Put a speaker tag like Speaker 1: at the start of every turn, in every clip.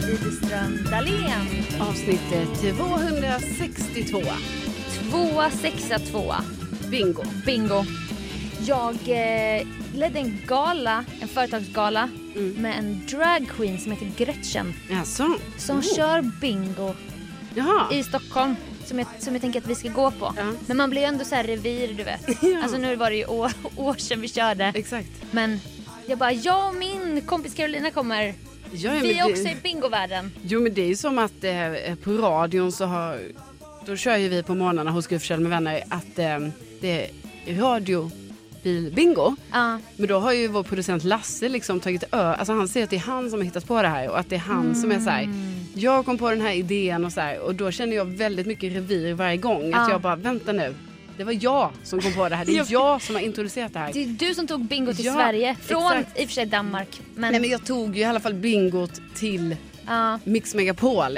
Speaker 1: Gudrun Dahlén.
Speaker 2: Avsnitt eh, 262.
Speaker 1: Tvåa, sexa, tvåa.
Speaker 2: Bingo.
Speaker 1: Bingo. Jag eh, ledde en gala, en företagsgala med en drag queen som heter Gretchen
Speaker 2: Jaså?
Speaker 1: som
Speaker 2: Oh.
Speaker 1: kör bingo
Speaker 2: Jaha.
Speaker 1: i Stockholm som jag, som jag tänker att vi ska gå på.
Speaker 2: Ja.
Speaker 1: Men man blir ju ändå så här revir du vet.
Speaker 2: Ja.
Speaker 1: Alltså nu var det ju år, år sedan vi körde.
Speaker 2: Exakt.
Speaker 1: Men jag bara, jag och min kompis Carolina kommer.
Speaker 2: Ja,
Speaker 1: Vi
Speaker 2: ja, men
Speaker 1: är
Speaker 2: det-
Speaker 1: också i bingovärlden.
Speaker 2: Jo men det är ju som att eh, på radion så har, då kör ju vi på morgnarna hos Gud Forssell med vänner att eh, det är radiobilbingo.
Speaker 1: Ja.
Speaker 2: Men då har ju vår producent Lasse liksom tagit ö, alltså han ser att det är han som har hittat på det här och att det är han som är så här.
Speaker 1: Mm.
Speaker 2: Jag kom på den här idén och så här och då känner jag väldigt mycket revir varje gång. Att
Speaker 1: Ja.
Speaker 2: jag bara vänta nu, det var jag som kom på det här. Det är jag som har introducerat det här.
Speaker 1: Det är du som tog bingo till
Speaker 2: Ja,
Speaker 1: Sverige. Från
Speaker 2: exakt.
Speaker 1: i och för sig Danmark. Men,
Speaker 2: Nej men jag tog ju i alla fall bingot till
Speaker 1: ja.
Speaker 2: Mix Megapol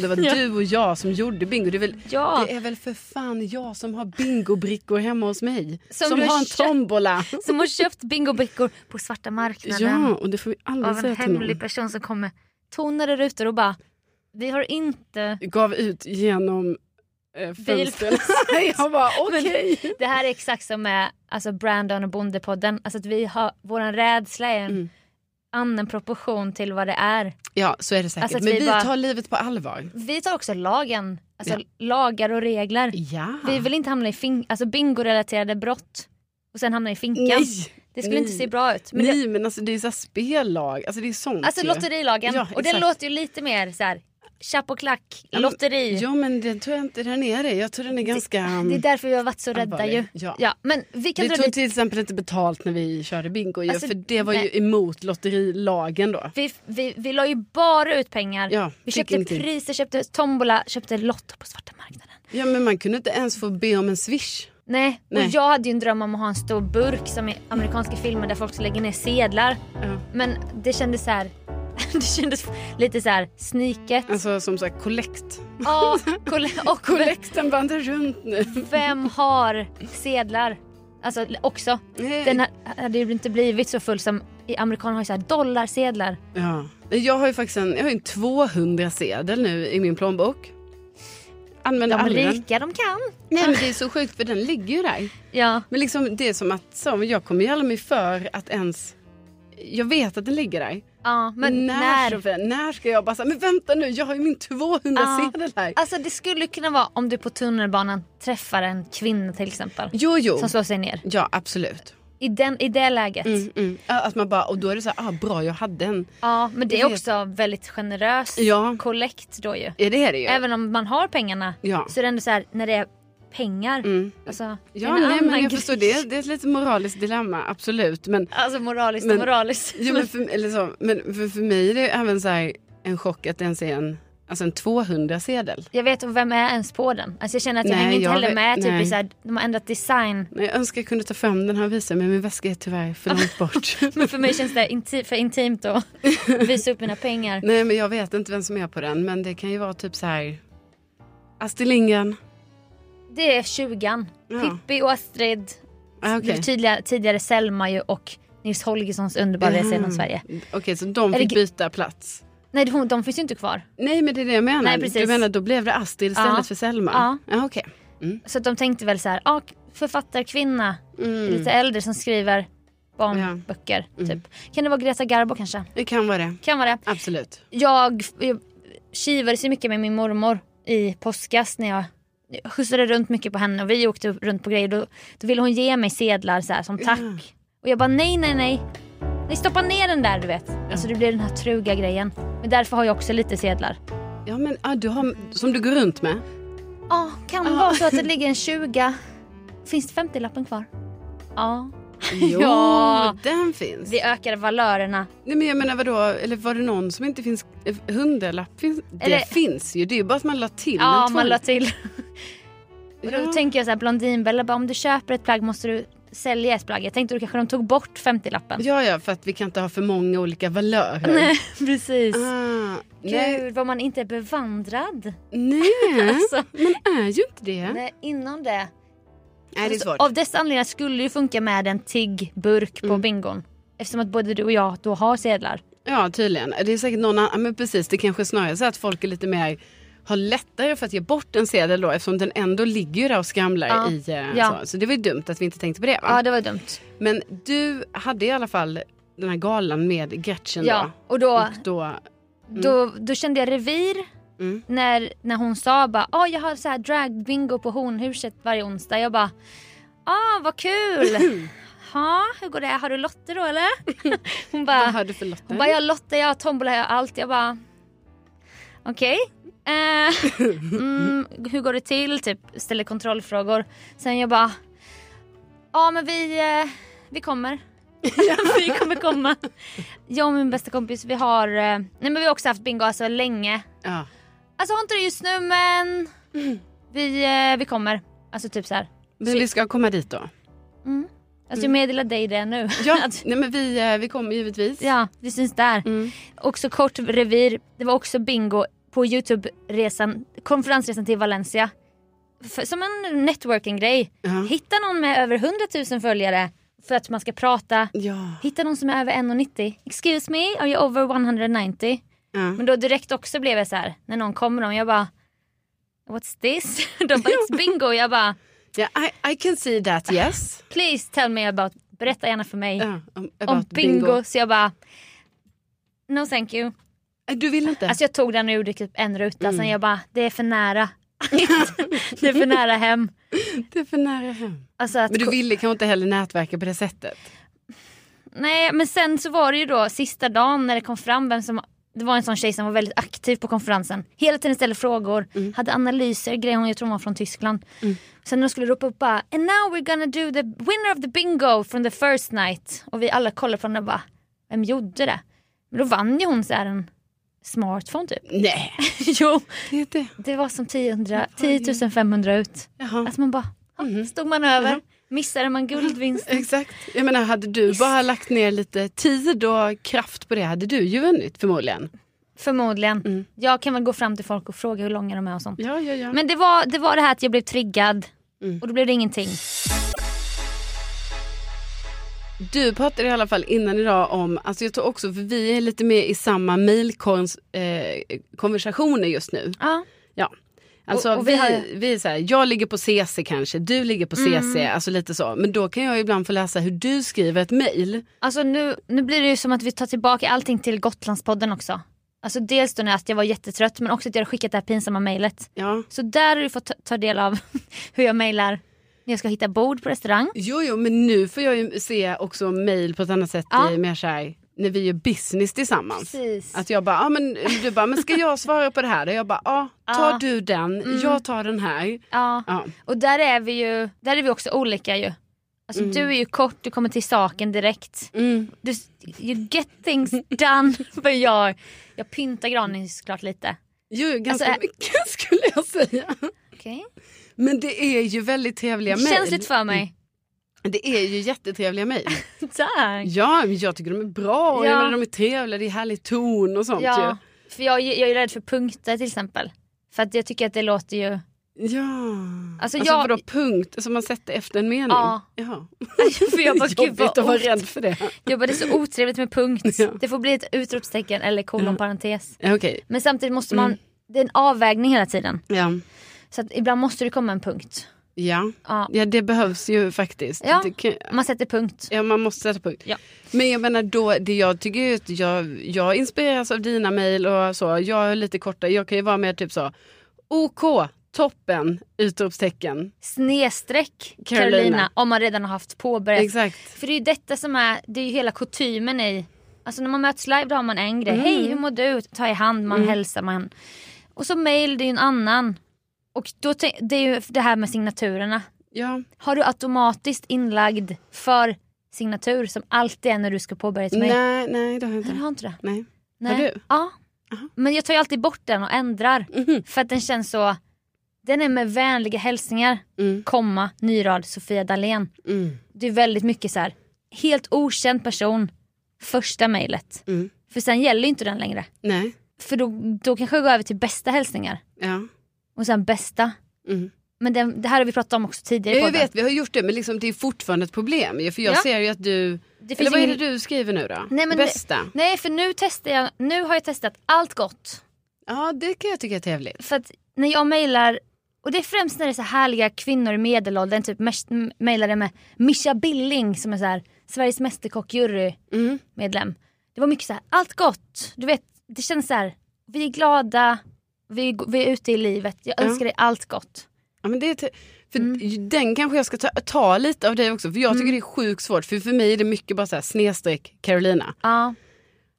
Speaker 2: det var du och jag som gjorde bingo. Det är, väl,
Speaker 1: Ja.
Speaker 2: det är väl för fan jag som har bingobrickor hemma hos mig.
Speaker 1: Som
Speaker 2: Som,
Speaker 1: du har
Speaker 2: har en
Speaker 1: köpt.
Speaker 2: tombola.
Speaker 1: Som har köpt bingobrickor på svarta marknaden.
Speaker 2: Ja, och det får vi aldrig
Speaker 1: av en
Speaker 2: säga till någon.
Speaker 1: hemlig person som kommer tonade rutor och bara vi har inte,
Speaker 2: Gav ut genom eh, fönstret. jag bara okej.
Speaker 1: det här är exakt som med alltså Brandon och Bondepodden, alltså att vi har, våran rädsla är en
Speaker 2: Mm.
Speaker 1: annan proportion till vad det är.
Speaker 2: Ja, så är det säkert.
Speaker 1: Alltså att
Speaker 2: Men
Speaker 1: vi
Speaker 2: vi
Speaker 1: bara-
Speaker 2: tar livet på allvar.
Speaker 1: Vi tar också lagen, alltså lagar och regler.
Speaker 2: Ja.
Speaker 1: Vi vill inte hamna i fin- alltså bingorelaterade brott och sen hamna i finkan.
Speaker 2: Nej.
Speaker 1: Det skulle inte
Speaker 2: Nej.
Speaker 1: se bra ut. Men
Speaker 2: Nej, men alltså det är så här spellag. Alltså det är sånt
Speaker 1: det, alltså
Speaker 2: ju.
Speaker 1: lotterilagen,
Speaker 2: Ja,
Speaker 1: och den
Speaker 2: exakt.
Speaker 1: låter ju lite mer så här, tjapp och klack, lotteri.
Speaker 2: Jo, men det tror jag inte den är det. Jag tror den är ganska... mm,
Speaker 1: Det är därför vi har varit så rädda ju.
Speaker 2: Allvarlig, ja.
Speaker 1: men vi kan
Speaker 2: Vi
Speaker 1: dra
Speaker 2: tog
Speaker 1: dit.
Speaker 2: till exempel inte betalt när vi körde bingo ju,
Speaker 1: Alltså,
Speaker 2: för det var
Speaker 1: nej.
Speaker 2: ju emot lotterilagen då.
Speaker 1: Vi, vi, vi la ju bara ut pengar.
Speaker 2: Ja,
Speaker 1: vi
Speaker 2: fick
Speaker 1: köpte
Speaker 2: ingenting.
Speaker 1: priser, köpte tombola, köpte lotto på svarta marknaden.
Speaker 2: Ja men man kunde inte ens få be om en swish.
Speaker 1: Nej.
Speaker 2: Nej.
Speaker 1: och jag hade ju en dröm om att ha en stor burk som i amerikanska filmer där folk lägger ner sedlar.
Speaker 2: Ja.
Speaker 1: Men det kändes så här. Det kändes lite så här sniket.
Speaker 2: Alltså som sagt kollekt.
Speaker 1: Ja, koll- och
Speaker 2: Kollekten vandrar runt nu.
Speaker 1: vem har sedlar? Alltså också.
Speaker 2: Nej.
Speaker 1: Den här- hade ju inte blivit så full som i amerikaner har ju så här dollarsedlar.
Speaker 2: Ja. Jag har ju faktiskt en, jag har ju en 200 sedel nu i min plånbok. Använder
Speaker 1: De
Speaker 2: aldrig den.
Speaker 1: rika de kan.
Speaker 2: Nej men det är så sjukt för den ligger ju där.
Speaker 1: Ja.
Speaker 2: Men liksom det är som att så, jag kommer ju aldrig mig för att ens jag vet att den ligger där.
Speaker 1: Ja, men när?
Speaker 2: som fan, när ska jag bara säga, men vänta nu, jag har ju min 200
Speaker 1: Ja.
Speaker 2: sedel här.
Speaker 1: Alltså det skulle kunna vara om du på tunnelbanan träffar en kvinna till exempel.
Speaker 2: Jo, jo.
Speaker 1: Som slår sig ner.
Speaker 2: Ja, absolut.
Speaker 1: I, den, i det läget.
Speaker 2: Mm, mm. Ja, Att man bara, och då är det så här, ah, bra jag hade en.
Speaker 1: Ja, men det
Speaker 2: Jag
Speaker 1: är
Speaker 2: vet.
Speaker 1: också väldigt generös
Speaker 2: Ja.
Speaker 1: kollekt då ju.
Speaker 2: Ja, det är det ju.
Speaker 1: Även om man har pengarna
Speaker 2: Ja.
Speaker 1: så är det ändå så här när det är pengar.
Speaker 2: Mm.
Speaker 1: Alltså, det är
Speaker 2: Ja,
Speaker 1: en
Speaker 2: nej, men
Speaker 1: annan
Speaker 2: jag förstår
Speaker 1: grej.
Speaker 2: det. Det är ett lite moraliskt dilemma, absolut. Men,
Speaker 1: Alltså moraliskt
Speaker 2: Men-
Speaker 1: och moraliskt.
Speaker 2: jo, men, för, eller så, men för, för mig är det ju även så här en chock att det ens är en, alltså en 200-sedel.
Speaker 1: Jag vet och vem är ens på den? Alltså jag känner att jag
Speaker 2: Nej,
Speaker 1: hänger inte
Speaker 2: jag
Speaker 1: heller
Speaker 2: vet-
Speaker 1: med. Typ
Speaker 2: nej.
Speaker 1: i så här, de har ändrat design.
Speaker 2: Men Jag önskar jag kunde ta fram den här visen men min väska är tyvärr för långt bort.
Speaker 1: Men för mig känns det inti- för intimt att visa upp mina pengar.
Speaker 2: nej, men jag vet inte vem som är på den, men det kan ju vara typ så här Astrid Lindgren.
Speaker 1: Det är tjugan.
Speaker 2: Ja.
Speaker 1: Pippi och Astrid.
Speaker 2: Ah,
Speaker 1: Det
Speaker 2: okej.
Speaker 1: var tidigare, tidigare Selma ju och Nils Holgerssons underbara
Speaker 2: Mm.
Speaker 1: resa genom Sverige.
Speaker 2: Okej, så de
Speaker 1: Är det
Speaker 2: fick
Speaker 1: gr-
Speaker 2: byta plats.
Speaker 1: Nej de, de finns ju inte kvar.
Speaker 2: Nej men det är det jag menar.
Speaker 1: Nej, precis.
Speaker 2: du menar då blev det Astrid istället
Speaker 1: Ja.
Speaker 2: för Selma?
Speaker 1: Ja.
Speaker 2: ja okej.
Speaker 1: Så att de tänkte väl så här, ah, författarkvinna,
Speaker 2: Mm.
Speaker 1: lite äldre som skriver
Speaker 2: Ja. Mm.
Speaker 1: barnböcker. Typ. Kan det vara Greta Garbo kanske?
Speaker 2: Det kan vara det.
Speaker 1: Kan vara det.
Speaker 2: Absolut.
Speaker 1: Jag, jag kivades ju mycket med min mormor i påskas när jag jag skjutsade runt mycket på henne och vi åkte runt på grejer. Då, då ville hon ge mig sedlar så här, som tack. Och jag bara nej, nej, nej. Nej, stoppa ner den där du vet. Alltså det blir den här truga grejen. Men därför har jag också lite sedlar.
Speaker 2: Ja men ah, du har, som du går runt med.
Speaker 1: Ja, kan
Speaker 2: Ja.
Speaker 1: vara så att det ligger en 20. Finns det 50-lappen kvar? Ja.
Speaker 2: Jo,
Speaker 1: Ja.
Speaker 2: den finns.
Speaker 1: Vi ökar valörerna.
Speaker 2: Nej men jag menar vadå, eller var det någon som inte finns, eh, hundralapp finns?
Speaker 1: Eller-
Speaker 2: Det finns ju, det är ju bara att man la till
Speaker 1: Ja, man
Speaker 2: en tvål.
Speaker 1: la till. Och då
Speaker 2: Ja.
Speaker 1: tänker jag så här, Blondinbella bara om du köper ett plagg måste du sälja ett plagg. Jag tänkte då kanske de tog bort 50-lappen.
Speaker 2: Ja, ja, för att vi kan inte ha för många olika valörer.
Speaker 1: Nej, precis.
Speaker 2: Ah, nej, Mm.
Speaker 1: Gud vad man inte är bevandrad.
Speaker 2: nej.
Speaker 1: Alltså.
Speaker 2: man är ju inte det. Nej,
Speaker 1: Nej, inom det.
Speaker 2: det är
Speaker 1: Alltså,
Speaker 2: svårt. Mm.
Speaker 1: Av dessa anledningar skulle det ju funka med en tigg burk på bingon. Eftersom att både du och jag då har sedlar.
Speaker 2: Ja, tydligen. Det är säkert någon annan. Men precis, det kanske snarare är så att folk är lite mer har lättare för att ge bort en sedel då eftersom den ändå ligger ju där och skramlar
Speaker 1: Ja.
Speaker 2: i eh,
Speaker 1: Ja.
Speaker 2: så. så det var ju dumt att vi inte tänkte på det va?
Speaker 1: Ja det var dumt.
Speaker 2: Men du hade i alla fall den här galan med Gretchen
Speaker 1: Ja, och
Speaker 2: då.
Speaker 1: då,
Speaker 2: Och då
Speaker 1: då, då kände jag revir
Speaker 2: Mm.
Speaker 1: när, när hon sa bara ah, jag har så här dragbingo på Hornhuset varje onsdag. Jag bara ah vad kul! Ja, hur går det? Har du lotter då eller? Hon
Speaker 2: vad
Speaker 1: bara,
Speaker 2: har du för lotter?
Speaker 1: hon bara jag har lotter, jag har tombola, jag har allt. Jag bara okej. Eh, mm, hur går det till? Typ ställer kontrollfrågor. Sen jag bara ja men vi, eh, vi kommer. vi kommer komma. Jag och min bästa kompis vi har, eh, nej men vi har också haft bingo alltså länge.
Speaker 2: ja.
Speaker 1: Alltså har inte det just nu men vi, eh, vi kommer. Alltså typ så här.
Speaker 2: Men vi ska komma dit då.
Speaker 1: Alltså jag meddelar dig det nu.
Speaker 2: Ja,
Speaker 1: Att-
Speaker 2: nej, men vi, eh, vi kommer givetvis.
Speaker 1: ja vi syns där.
Speaker 2: Mm.
Speaker 1: Också kort revir. Det var också bingo på Youtube-resan, konferensresan till Valencia. För, som en networking-grej.
Speaker 2: Ja.
Speaker 1: Hitta någon med över 100 000 följare för att man ska prata.
Speaker 2: Ja.
Speaker 1: Hitta någon som är över 1,90. Excuse me, are you over 190?
Speaker 2: ja.
Speaker 1: Men då direkt också blev jag så här, när någon kommer om, jag bara What's this? De bara it's bingo. Jag bara
Speaker 2: ja I, I can see that yes.
Speaker 1: please tell me about, berätta gärna för mig
Speaker 2: Ja, om-
Speaker 1: Mm. om
Speaker 2: Uh, about
Speaker 1: bingo. Så jag bara No thank you.
Speaker 2: Eh, Du vill inte?
Speaker 1: Alltså jag tog den och gjorde typ en ruta
Speaker 2: Mm.
Speaker 1: sen jag bara det är för nära. det är för nära hem.
Speaker 2: det är för nära hem.
Speaker 1: Alltså att
Speaker 2: Men du ville kanske inte heller nätverka på det sättet?
Speaker 1: Nej men sen så var det ju då sista dagen när det kom fram vem som det var en sån tjej som var väldigt aktiv på konferensen. Hela tiden ställde frågor, hade analyser, grejer hon, jag tror hon var från Tyskland. Sen när de skulle ropa upp bara “And now we're gonna do the winner of the bingo from the first night” och vi alla kollade på henne och bara “Vem gjorde det?” Men då vann ju hon så här en smartphone typ.
Speaker 2: Nej.
Speaker 1: jo,
Speaker 2: Det är det.
Speaker 1: det var som 10, 10 500 ut.
Speaker 2: Jaha.
Speaker 1: Alltså man bara, "Ah, stod man över,
Speaker 2: Mhm.
Speaker 1: missade man guldvinsten.
Speaker 2: Exakt. Jag menar, hade du bara lagt ner lite tid och kraft på det hade du ju vunnit förmodligen.
Speaker 1: Förmodligen. Jag kan väl gå fram till folk och fråga hur långa de är och sånt.
Speaker 2: Ja, ja, ja.
Speaker 1: Men det var, det var det här att jag blev triggad
Speaker 2: Mm.
Speaker 1: och då blev det ingenting.
Speaker 2: Du pratade i alla fall innan idag om, alltså jag tror också, för vi är lite mer i samma mejlkonversationer just nu.
Speaker 1: Ja.
Speaker 2: Ja. Alltså,
Speaker 1: Och- och
Speaker 2: vi,
Speaker 1: vi
Speaker 2: vi,
Speaker 1: har-
Speaker 2: är så här, jag ligger på CC kanske, du ligger på CC,
Speaker 1: Mm.
Speaker 2: alltså lite så. Men då kan jag ibland få läsa hur du skriver ett mejl.
Speaker 1: Alltså nu, nu blir det ju som att vi tar tillbaka allting till Gotlandspodden också. Alltså dels då när att jag var jättetrött men också att jag hade skickat det här pinsamma mejlet.
Speaker 2: Ja.
Speaker 1: Så där har du fått ta, ta del av hur jag mejlar när jag ska hitta bord på restaurang.
Speaker 2: Jo, jo, men nu får jag ju se också mejl på ett annat sätt,
Speaker 1: Ja.
Speaker 2: i mer så här, när vi gör business tillsammans.
Speaker 1: Precis.
Speaker 2: Att jag bara, ah, men, du bara, men ska jag svara på det här? Och jag bara, ja, ah, tar
Speaker 1: Ja. Mm.
Speaker 2: du den, jag tar den här.
Speaker 1: Ja.
Speaker 2: Ja.
Speaker 1: Och där är vi ju där är vi också olika ju. Alltså du är ju kort, du kommer till saken direkt.
Speaker 2: Mm.
Speaker 1: Du, you get things done. För jag, jag pyntar granen såklart lite.
Speaker 2: Jo, ganska
Speaker 1: Alltså, ä-
Speaker 2: mycket skulle jag säga.
Speaker 1: Okej.
Speaker 2: Men det är ju väldigt trevliga mejl.
Speaker 1: Känsligt för mig.
Speaker 2: Det är ju jättetrevliga mejl.
Speaker 1: Tack.
Speaker 2: Ja, men jag tycker de är bra och
Speaker 1: Ja.
Speaker 2: jag menar, de är trevliga, det är härlig ton och sånt
Speaker 1: Ja,
Speaker 2: typ.
Speaker 1: för jag, jag är rädd för punkter till exempel. För att jag tycker att det låter ju...
Speaker 2: ju. Ja.
Speaker 1: Alltså,
Speaker 2: Alltså,
Speaker 1: jag-
Speaker 2: vadå punkt som man sätter efter en mening?
Speaker 1: Ja.
Speaker 2: Jaha.
Speaker 1: för jag bara, gud
Speaker 2: Jobbigt
Speaker 1: vad
Speaker 2: att vara
Speaker 1: o-
Speaker 2: rädd för det.
Speaker 1: jag bara, det är så otrevligt med punkt.
Speaker 2: Ja.
Speaker 1: Det får bli ett utropstecken eller kolon parentes.
Speaker 2: Okej,
Speaker 1: Men samtidigt måste man...
Speaker 2: Mm.
Speaker 1: Det är en avvägning hela tiden.
Speaker 2: ja.
Speaker 1: Så att ibland måste det komma en punkt.
Speaker 2: Ja.
Speaker 1: Ja.
Speaker 2: ja, det behövs ju faktiskt.
Speaker 1: Ja.
Speaker 2: Det kan...
Speaker 1: Man sätter punkt.
Speaker 2: Ja, man måste sätta punkt.
Speaker 1: Ja.
Speaker 2: Men jag menar då, det jag tycker ju att jag, jag inspireras av dina mejl och så. Jag är lite kortare, jag kan ju vara mer typ så. OK, toppen, utropstecken.
Speaker 1: Snedstreck
Speaker 2: Carolina.
Speaker 1: Carolina. om man redan har haft påbörjat.
Speaker 2: Exakt.
Speaker 1: För det är ju detta som är, det är ju hela kutymen i, alltså när man möts live då har man en grej, hej
Speaker 2: Mm.
Speaker 1: hur mår du, ta i hand, man hälsar, man. Och så mail det är ju en annan. Och då, tänk- det är ju det här med signaturerna.
Speaker 2: Ja.
Speaker 1: Har du automatiskt inlagd för signatur som alltid är när du ska påbörja ett mail?
Speaker 2: Nej, nej det har jag
Speaker 1: Nej, du
Speaker 2: inte.
Speaker 1: har inte det.
Speaker 2: Nej.
Speaker 1: Nej.
Speaker 2: du?
Speaker 1: Ja.
Speaker 2: Aha.
Speaker 1: Men jag tar ju alltid bort den och ändrar.
Speaker 2: Mhm.
Speaker 1: För att den känns så, den är med vänliga hälsningar,
Speaker 2: Mm.
Speaker 1: komma, nyrad Sofia Dalén.
Speaker 2: Mm.
Speaker 1: Det är väldigt mycket så här, helt okänd person, första mejlet.
Speaker 2: Mm.
Speaker 1: För sen gäller ju inte den längre.
Speaker 2: Nej.
Speaker 1: För då, då kanske jag går över till bästa hälsningar
Speaker 2: Ja.
Speaker 1: och sen bästa.
Speaker 2: Mm.
Speaker 1: Men det, det här har vi pratat om också tidigare i
Speaker 2: Ja, jag
Speaker 1: podden.
Speaker 2: vet, vi har gjort det men liksom, det är fortfarande ett problem. ju, För jag
Speaker 1: Ja.
Speaker 2: ser ju att du...
Speaker 1: Det finns
Speaker 2: Eller vad
Speaker 1: ingen-
Speaker 2: är det du skriver nu då?
Speaker 1: Nej, men-
Speaker 2: Bästa?
Speaker 1: Nej för nu testar jag, nu har jag testat allt gott.
Speaker 2: Ja det kan jag tycka är trevligt.
Speaker 1: För att när jag mejlar, och det är främst när det är så härliga kvinnor i medelåldern, typ mes- m- mejlade med Mischa Billing som är så här, Sveriges mästerkock
Speaker 2: Mm.
Speaker 1: medlem. Det var mycket så här, allt gott. Du vet, det känns så här, vi är glada, vi, vi är ute i livet, jag
Speaker 2: Ja.
Speaker 1: önskar dig allt gott.
Speaker 2: Ja, men det är te- för
Speaker 1: Mm.
Speaker 2: Den kanske jag ska ta, ta lite av dig också. För jag tycker det är sjukt svårt. För för mig är det mycket bara så här, snedstreck Carolina.
Speaker 1: Ja,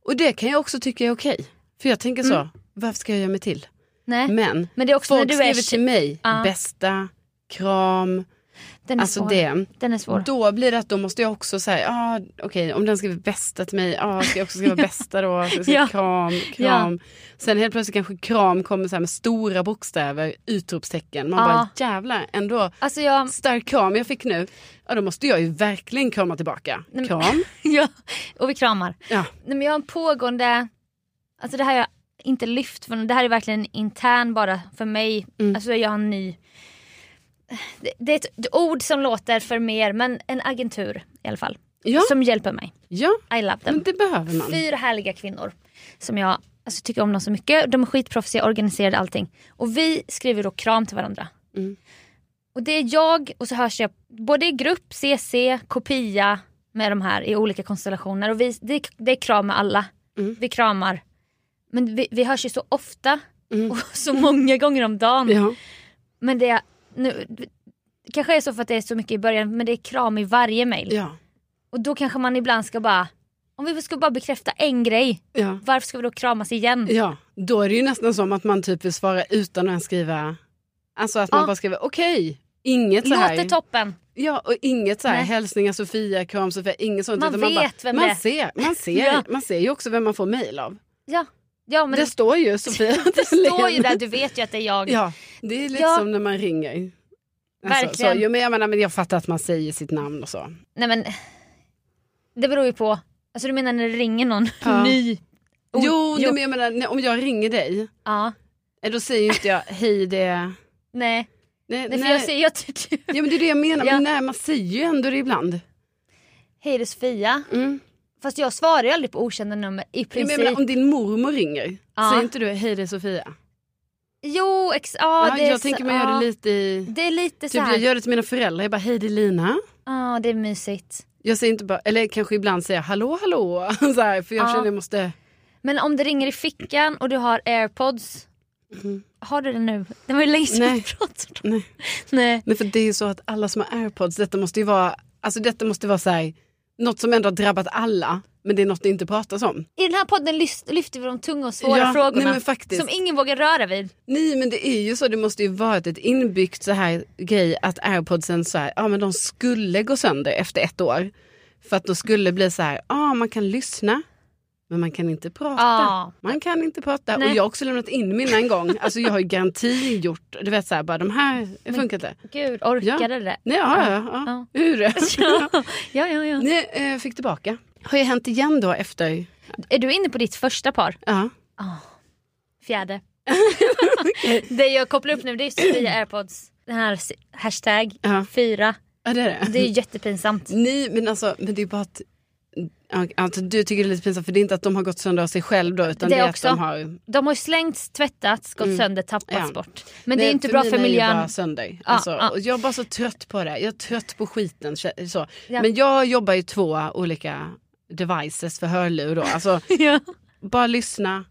Speaker 2: Och det kan jag också tycka är okej. För jag tänker så, varför ska jag göra mig till?
Speaker 1: nej. Men,
Speaker 2: Men
Speaker 1: det är Mm. också
Speaker 2: Mm. folk
Speaker 1: när du är...
Speaker 2: skriver till mig,
Speaker 1: Ja.
Speaker 2: bästa, kram,
Speaker 1: Den är
Speaker 2: alltså
Speaker 1: svår.
Speaker 2: det.
Speaker 1: Den är svår.
Speaker 2: Då blir det att då måste jag också säga, ah, okej om den skriver bästa till mig, ah, ska jag också skriva bästa då? Så jag skriver
Speaker 1: Ja.
Speaker 2: Kram, kram. Sen helt plötsligt kanske kram kommer så här med stora bokstäver, utropstecken. Man
Speaker 1: Ja.
Speaker 2: bara jävlar, ändå
Speaker 1: Alltså jag...
Speaker 2: stark kram jag fick nu. Ja då måste jag ju verkligen krama tillbaka.
Speaker 1: Nej, men-
Speaker 2: Kram.
Speaker 1: ja, och vi kramar.
Speaker 2: Ja.
Speaker 1: Nej, men jag har en pågående, alltså det här har jag inte lyft från, det här är verkligen intern bara för mig.
Speaker 2: Mm.
Speaker 1: Alltså jag har en ny, det, det är ett ord som låter för mer men en agentur i alla fall.
Speaker 2: Ja,
Speaker 1: Som hjälper mig.
Speaker 2: ja,
Speaker 1: I love them.
Speaker 2: men det behöver man.
Speaker 1: Fyra härliga kvinnor som jag alltså, tycker om dem så mycket. De är skitproffsiga, organiserade allting. Och vi skriver då kram till varandra.
Speaker 2: Mm.
Speaker 1: Och det är jag och så hörs jag både i grupp, CC, kopia med de här i olika konstellationer. Och vi, det, det är kram med alla.
Speaker 2: Mm.
Speaker 1: Vi kramar. Men vi, vi hörs ju så ofta
Speaker 2: Mm.
Speaker 1: och så många gånger om dagen.
Speaker 2: Ja.
Speaker 1: Men det är, nu, det kanske är så för att det är så mycket i början men det är kram i varje mejl.
Speaker 2: Ja.
Speaker 1: Och då kanske man ibland ska bara, om vi ska bara bekräfta en grej
Speaker 2: Ja.
Speaker 1: varför ska vi då kramas igen?
Speaker 2: ja, då är det ju nästan som att man typ vill svara utan att ens skriva, alltså att man
Speaker 1: Ja.
Speaker 2: bara skriver okej, inget så här.
Speaker 1: Låter toppen.
Speaker 2: Ja, och inget så här
Speaker 1: Nej.
Speaker 2: hälsningar Sofia, kram Sofia, inget sånt.
Speaker 1: Man
Speaker 2: utan
Speaker 1: vet vem
Speaker 2: man
Speaker 1: det är.
Speaker 2: ser, man, ser,
Speaker 1: Ja.
Speaker 2: man ser ju också vem man får mejl av.
Speaker 1: Ja, ja men
Speaker 2: det
Speaker 1: det,
Speaker 2: står ju Sofia
Speaker 1: det står ju
Speaker 2: Dalén.
Speaker 1: där, du vet ju att det är jag.
Speaker 2: Ja, det är lite
Speaker 1: Ja.
Speaker 2: som när man ringer. Alltså,
Speaker 1: Verkligen.
Speaker 2: så, jo, men jag, menar, men jag fattar att man säger sitt namn och så.
Speaker 1: Nej men, det beror ju på. Alltså du menar när det ringer någon
Speaker 2: Ja.
Speaker 1: ny? Oh,
Speaker 2: jo, nej,
Speaker 1: jo.
Speaker 2: men jag menar, nej, om jag ringer dig,
Speaker 1: Ja.
Speaker 2: eh, då säger ju inte jag hej det...
Speaker 1: Nej,
Speaker 2: Nej,
Speaker 1: det är
Speaker 2: nej.
Speaker 1: för jag säger jag tycker
Speaker 2: Ja, men det är det jag menar,
Speaker 1: Ja.
Speaker 2: men nej, man säger ju ändå det ibland.
Speaker 1: Hej det är Sofia.
Speaker 2: Mm.
Speaker 1: Fast jag svarar ju aldrig på okända nummer i
Speaker 2: Ja, Men
Speaker 1: princip.
Speaker 2: jag menar, om din mormor ringer,
Speaker 1: Ja.
Speaker 2: säger inte du hej det är Sofia?
Speaker 1: Jo, ex... ja,
Speaker 2: Ja,
Speaker 1: det är
Speaker 2: jag
Speaker 1: så-
Speaker 2: tänker man
Speaker 1: ja.
Speaker 2: gör det lite i...
Speaker 1: Det är lite så
Speaker 2: Typ
Speaker 1: här.
Speaker 2: jag gör det till mina föräldrar, jag bara hej det är Lina.
Speaker 1: Ja, det är mysigt.
Speaker 2: Jag säger inte bara, eller kanske ibland säger jag hallå hallå. Så här, för jag
Speaker 1: Ja.
Speaker 2: känner jag måste,
Speaker 1: Men om det ringer i fickan och du har airpods. Har du det nu? Det var ju länge sedan vi
Speaker 2: Nej.
Speaker 1: pratade.
Speaker 2: nej.
Speaker 1: Nej.
Speaker 2: nej för det är ju så att alla som har airpods, detta måste ju vara, alltså detta måste vara så här, något som ändå har drabbat alla. Men det är något det inte pratas om.
Speaker 1: I den här podden lys- lyfter vi de tunga och svåra
Speaker 2: Ja,
Speaker 1: frågorna.
Speaker 2: nej, men faktiskt.
Speaker 1: Som ingen vågar röra vid.
Speaker 2: Nej men det är ju så, det måste ju varit ett inbyggt så här grej att airpodsen så här, ja men de skulle gå sönder efter ett år. För att då skulle det bli så här, ja man kan lyssna. Men man kan inte prata.
Speaker 1: Ja.
Speaker 2: Man kan inte prata.
Speaker 1: Nej.
Speaker 2: Och jag har också lämnat in mina en gång. Alltså jag har ju garanti gjort, du vet så här, bara de här funkar inte.
Speaker 1: Gud, orkade det?
Speaker 2: Nej, ja, ja, ja. Hur är det?
Speaker 1: Ja, ja, ja.
Speaker 2: Ni eh, fick tillbaka. Har ju hänt igen då efter,
Speaker 1: Är du inne på ditt första par?
Speaker 2: ja.
Speaker 1: Fjärde. det jag kopplar upp nu det är Sofia airpods. Den här s- hashtag
Speaker 2: Ja.
Speaker 1: fyra.
Speaker 2: ja det är det.
Speaker 1: Det är jättepinsamt.
Speaker 2: Nej men alltså, men det är bara att ja, alltså, du tycker det är lite pinsamt för det är inte att de har gått sönder av sig själv då utan
Speaker 1: Det
Speaker 2: det, är
Speaker 1: också.
Speaker 2: att de har...
Speaker 1: De har ju slängts, tvättats, gått sönder, tappats
Speaker 2: Mm. Ja.
Speaker 1: bort. Men det är ju inte bra för
Speaker 2: mina är ju
Speaker 1: miljön.
Speaker 2: bara sönder. Alltså,
Speaker 1: ja.
Speaker 2: och Jag är bara så trött på det. Jag är trött på skiten. kä- Så.
Speaker 1: Ja.
Speaker 2: Men jag jobbar ju två olika devices för hörlur då. Alltså,
Speaker 1: Ja.
Speaker 2: bara lyssna.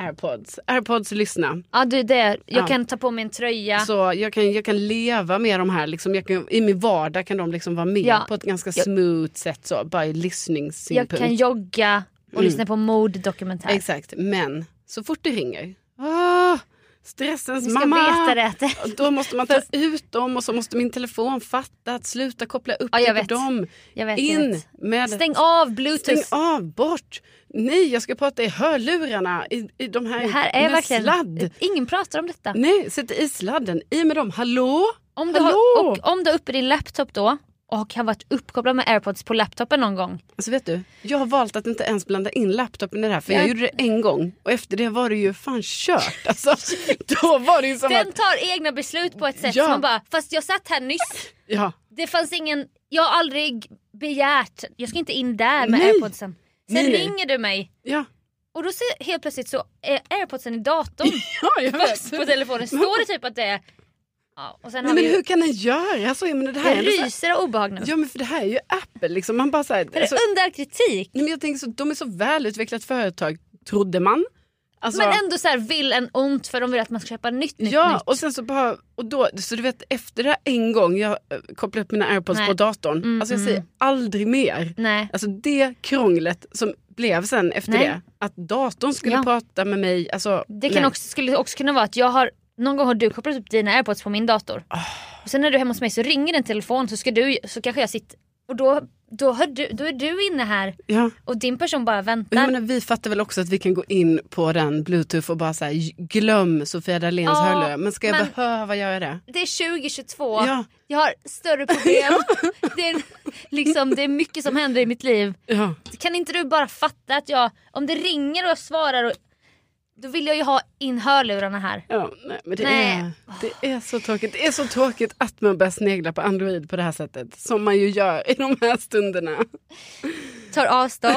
Speaker 2: Airpods. Airpods lyssna.
Speaker 1: Ja, du, det. Jag
Speaker 2: Ja.
Speaker 1: kan ta på mig en tröja.
Speaker 2: Så jag kan, jag kan leva med de här. Liksom, jag kan, I min vardag kan de liksom vara med
Speaker 1: Ja.
Speaker 2: på ett ganska
Speaker 1: Ja.
Speaker 2: smooth sätt. Så, bara i
Speaker 1: jag
Speaker 2: lyssningssynpunkt.
Speaker 1: kan jogga och
Speaker 2: Mm.
Speaker 1: lyssna på morddokumentär.
Speaker 2: Exakt, men så fort det ringer. Ah, stressens
Speaker 1: Du ska
Speaker 2: mamma.
Speaker 1: veta det. att det-
Speaker 2: Och Då måste man ta ut dem och så måste min telefon fatta att sluta koppla upp
Speaker 1: Ja, jag
Speaker 2: dig
Speaker 1: vet.
Speaker 2: på dem.
Speaker 1: Jag vet, jag
Speaker 2: In
Speaker 1: vet.
Speaker 2: med...
Speaker 1: Stäng av bluetooth.
Speaker 2: Stäng av, bort. Nej, jag ska prata i hörlurarna. I, i de här,
Speaker 1: Det här är
Speaker 2: med
Speaker 1: verkligen...
Speaker 2: sladd. Mm.
Speaker 1: Ingen pratar om detta.
Speaker 2: Nej, sätt i sladden. I med dem. Hallå?
Speaker 1: Om du,
Speaker 2: Hallå?
Speaker 1: har, och, om du har uppe din laptop då och har varit uppkopplad med airpods på laptopen någon gång.
Speaker 2: Alltså vet du, jag har valt att inte ens blanda in laptopen i det här för
Speaker 1: Ja.
Speaker 2: jag gjorde det en gång och efter det var det ju fan kört. Alltså, då var det ju som
Speaker 1: Den
Speaker 2: att...
Speaker 1: tar egna beslut på ett sätt
Speaker 2: Ja.
Speaker 1: som man bara, fast jag satt här nyss.
Speaker 2: Ja.
Speaker 1: Det fanns ingen, jag har aldrig begärt, jag ska inte in där med
Speaker 2: Nej.
Speaker 1: airpodsen. Sen
Speaker 2: Nej, nej.
Speaker 1: ringer du mig
Speaker 2: Ja,
Speaker 1: och då ser helt plötsligt så är airpodsen i datorn
Speaker 2: ja jag vet.
Speaker 1: på telefonen. Står det typ att det är... Ja, och sen
Speaker 2: Nej,
Speaker 1: har
Speaker 2: men
Speaker 1: vi ju,
Speaker 2: hur kan den göra så? Ja, Men det, här är
Speaker 1: det
Speaker 2: ändå så här,
Speaker 1: ryser av obehag nu.
Speaker 2: ja, men för det här är ju Apple. Liksom. Man bara så här,
Speaker 1: För det
Speaker 2: alltså,
Speaker 1: är under all kritik.
Speaker 2: nej, men jag tänker så, de är så välutvecklat företag, trodde man. Alltså,
Speaker 1: Men ändå så här vill en ont för de vill att man ska köpa nytt, nytt,
Speaker 2: Ja,
Speaker 1: nytt.
Speaker 2: och sen så bara, och då, så du vet efter det här en gång jag eh, kopplade upp mina airpods
Speaker 1: Nej.
Speaker 2: på datorn,
Speaker 1: Mm,
Speaker 2: alltså jag
Speaker 1: mm.
Speaker 2: säger aldrig mer.
Speaker 1: Nej.
Speaker 2: Alltså det krånglet som blev sen efter
Speaker 1: Nej.
Speaker 2: det, att datorn skulle
Speaker 1: Ja.
Speaker 2: prata med mig, alltså
Speaker 1: Det
Speaker 2: nej.
Speaker 1: kan också, skulle också kunna vara att jag har, någon gång har du kopplat upp dina airpods på min dator.
Speaker 2: Ah.
Speaker 1: Och sen när du är hemma hos mig så ringer din telefon så, ska du, så kanske jag sitter och då, då, hör du, då är du inne här
Speaker 2: ja.
Speaker 1: och din person bara
Speaker 2: Och Jag
Speaker 1: väntar.
Speaker 2: menar, vi fattar väl också att vi kan gå in på den bluetooth och bara säga glöm Sofia Dahléns
Speaker 1: Ja,
Speaker 2: hörlurar. Men ska jag
Speaker 1: men-
Speaker 2: behöva göra det?
Speaker 1: Det är 2022,
Speaker 2: Ja.
Speaker 1: jag har större problem. det, är, liksom, det är mycket som händer i mitt liv.
Speaker 2: Ja.
Speaker 1: Kan inte du bara fatta att jag, om det ringer och jag svarar, och, då vill jag ju ha in hörlurarna här.
Speaker 2: Ja, nej, men det,
Speaker 1: Nej.
Speaker 2: Är, det är så tråkigt. Det är så tråkigt att man börjar snegla på Android på det här sättet. Som man ju gör i de här stunderna.
Speaker 1: tar avstånd.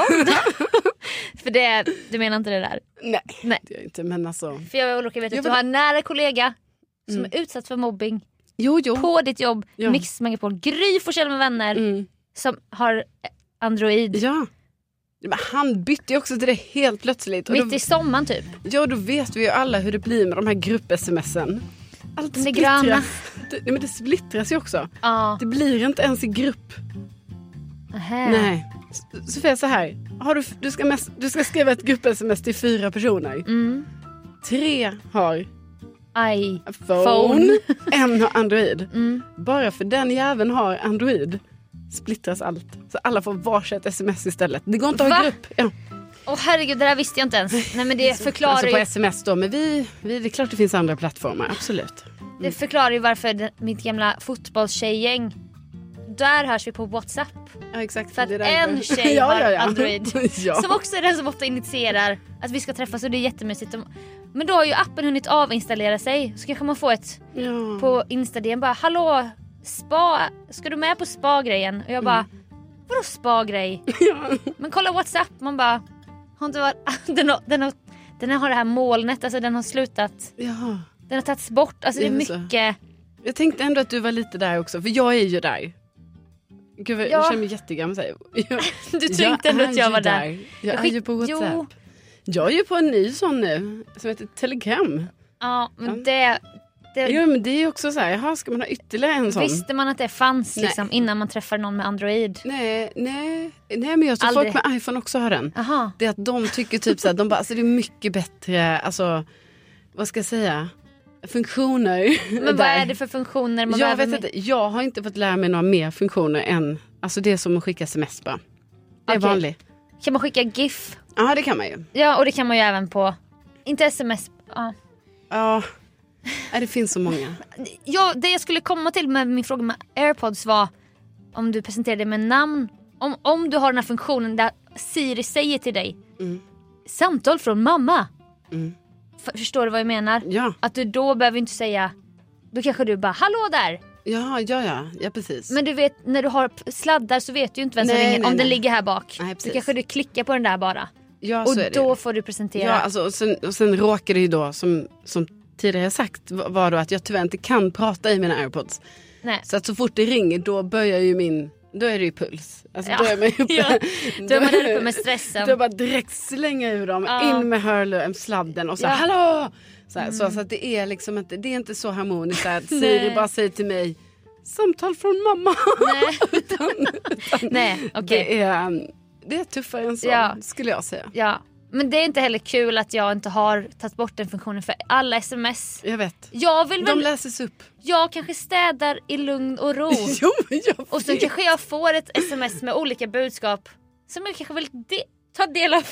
Speaker 1: För det, du menar inte det där?
Speaker 2: Nej,
Speaker 1: Nej.
Speaker 2: det gör jag inte. Men alltså.
Speaker 1: För jag råkar veta
Speaker 2: Jag
Speaker 1: att du
Speaker 2: vet-
Speaker 1: har en nära kollega som
Speaker 2: Mm.
Speaker 1: är utsatt för mobbing
Speaker 2: Jo, jo.
Speaker 1: på ditt jobb,
Speaker 2: Ja.
Speaker 1: Mix Megapol, Gry Forssell med vänner
Speaker 2: Mm.
Speaker 1: som har eh, Android.
Speaker 2: Ja. Men han bytte ju också till det helt plötsligt. Och
Speaker 1: Mitt
Speaker 2: då,
Speaker 1: i sommaren typ.
Speaker 2: ja, då vet vi ju alla hur det blir med de här grupp-smsen. Allt
Speaker 1: De är
Speaker 2: splittras.
Speaker 1: gröna.
Speaker 2: Det, nej, men det splittras ju också.
Speaker 1: Ja.
Speaker 2: Det blir inte ens i grupp.
Speaker 1: Nähä.
Speaker 2: Nej. S- Sofia, så här. Har du, du, ska mest, du ska skriva ett grupp-sms till fyra personer.
Speaker 1: Mm.
Speaker 2: Tre har
Speaker 1: Aj.
Speaker 2: phone,
Speaker 1: Phone.
Speaker 2: en har Android.
Speaker 1: Mm.
Speaker 2: Bara för den jäveln har Android splittras allt. Så alla får varsitt sms istället. Det går inte att ha
Speaker 1: Va?
Speaker 2: grupp. Ja.
Speaker 1: Åh herregud, det där visste jag inte ens. Nej men det förklarar
Speaker 2: Alltså på
Speaker 1: ju,
Speaker 2: sms då, men vi, vi, det är klart det finns andra plattformar, absolut.
Speaker 1: det förklarar ju varför det, mitt gamla fotbollstjejgäng, där hörs vi på Whatsapp.
Speaker 2: Ja, exakt.
Speaker 1: För att
Speaker 2: Det är därför.
Speaker 1: en tjej har Android.
Speaker 2: ja.
Speaker 1: Som också är den som ofta initierar att vi ska träffas och det är jättemysigt. De- Men då har ju appen hunnit avinstallera sig så kanske man får ett
Speaker 2: ja.
Speaker 1: på Instagram bara hallå spa, ska du med på spa-grejen? Och jag bara
Speaker 2: Mm.
Speaker 1: vadå spa-grej?
Speaker 2: Ja.
Speaker 1: Men kolla Whatsapp man bara har inte varit, den, har, den, har, den har det här molnet, alltså den har slutat,
Speaker 2: ja.
Speaker 1: den har tagits bort, alltså det är
Speaker 2: Det är så.
Speaker 1: mycket.
Speaker 2: Jag tänkte ändå att du var lite där också, för jag är ju där. Gud, vad-
Speaker 1: Ja.
Speaker 2: jag känner mig jättegammal. så här. Jag,
Speaker 1: Du tänkte ändå
Speaker 2: är
Speaker 1: att jag
Speaker 2: ju
Speaker 1: var där.
Speaker 2: Jag, är
Speaker 1: skick-
Speaker 2: ju på
Speaker 1: Jo.
Speaker 2: Whatsapp. Jag är ju på en ny sån nu, som heter Telegram.
Speaker 1: Ja men det, det
Speaker 2: Jo, men det är ju också så här, jaha, ska man ha ytterligare en sån?
Speaker 1: visste man att det fanns
Speaker 2: Nej.
Speaker 1: liksom innan man träffar någon med Android.
Speaker 2: Nej, nej, nej, men jag tror
Speaker 1: Aldrig.
Speaker 2: folk med iPhone också har den.
Speaker 1: Aha.
Speaker 2: Det är att de tycker typ så här, de bara, alltså det är mycket bättre, alltså, vad ska jag säga, funktioner.
Speaker 1: Men vad är det för funktioner man
Speaker 2: jag
Speaker 1: behöver
Speaker 2: vet
Speaker 1: med-
Speaker 2: inte, jag har inte fått lära mig några mer funktioner än, alltså det är som att skicka sms bara. Det är
Speaker 1: Okej.
Speaker 2: vanligt.
Speaker 1: Kan man skicka GIF?
Speaker 2: Ja, det kan man ju.
Speaker 1: Ja, och det kan man ju även på... Inte sms. Ja.
Speaker 2: Ja, Nej, det finns så många.
Speaker 1: Ja, det jag skulle komma till med min fråga med airpods var om du presenterade med namn. Om, om du har den här funktionen där Siri säger till dig
Speaker 2: Mm.
Speaker 1: samtal från mamma.
Speaker 2: Mm.
Speaker 1: F- förstår du vad jag menar?
Speaker 2: Ja,
Speaker 1: Att du då behöver inte säga då kanske du bara hallå där.
Speaker 2: ja, ja, ja, ja precis.
Speaker 1: Men du vet när du har p- sladdar så vet du ju inte vem som
Speaker 2: Nej,
Speaker 1: ringer
Speaker 2: nej,
Speaker 1: om den
Speaker 2: nej.
Speaker 1: ligger här bak.
Speaker 2: Nej,
Speaker 1: då
Speaker 2: precis.
Speaker 1: kanske du klickar på den där bara.
Speaker 2: ja, så är
Speaker 1: Och
Speaker 2: det ju.
Speaker 1: då får du presentera.
Speaker 2: Ja, alltså, och, sen, och sen råkar det ju då, som, som tidigare sagt, va- var då att jag tyvärr inte kan prata i mina airpods.
Speaker 1: Nej.
Speaker 2: Så att så fort det ringer då börjar ju min, då är det ju puls. Alltså
Speaker 1: Ja.
Speaker 2: då är man ju uppe.
Speaker 1: Ja. Då är man där uppe med
Speaker 2: Då är
Speaker 1: stressen.
Speaker 2: bara direkt slänga ur dem,
Speaker 1: Ja.
Speaker 2: in med hörluren, sladden och så
Speaker 1: Ja. Mm.
Speaker 2: hallå! Så, här, så, så att det är liksom inte, det är inte så harmoniskt så här, att Siri
Speaker 1: Nej.
Speaker 2: bara säger till mig samtal från mamma.
Speaker 1: Nej. Nej, okej.
Speaker 2: Det, är, um, det är tuffare än så
Speaker 1: Ja.
Speaker 2: skulle jag säga.
Speaker 1: Ja. Men det är inte heller kul att jag inte har tagit bort den funktionen för alla sms.
Speaker 2: Jag vet.
Speaker 1: Jag vill
Speaker 2: De
Speaker 1: väl,
Speaker 2: läses upp.
Speaker 1: jag kanske städar i lugn och ro.
Speaker 2: Jo, men jag
Speaker 1: Oh. Och sen
Speaker 2: vet.
Speaker 1: kanske jag får ett sms med olika budskap som jag kanske vill de- ta del av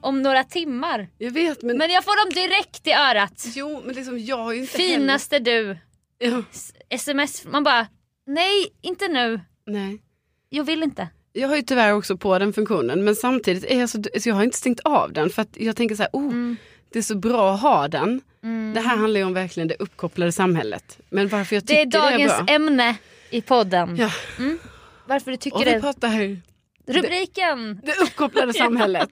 Speaker 1: om några timmar.
Speaker 2: Jag vet men,
Speaker 1: Men jag får dem direkt i örat.
Speaker 2: jo men liksom jag har ju inte heller-
Speaker 1: Finaste du.
Speaker 2: Ja,
Speaker 1: S- Sms, man bara nej inte nu.
Speaker 2: nej.
Speaker 1: jag vill inte.
Speaker 2: Jag har ju tyvärr också på den funktionen men samtidigt är jag så, så jag har inte stängt av den för att jag tänker så här, oh,
Speaker 1: Mm.
Speaker 2: det är så bra att ha den. Det här handlar ju om verkligen det uppkopplade samhället. Men varför jag
Speaker 1: Det
Speaker 2: tycker
Speaker 1: är dagens
Speaker 2: bra.
Speaker 1: ämne i podden.
Speaker 2: Ja.
Speaker 1: Varför du tycker
Speaker 2: Och vi
Speaker 1: det.
Speaker 2: pratar
Speaker 1: Rubriken!
Speaker 2: det uppkopplade samhället.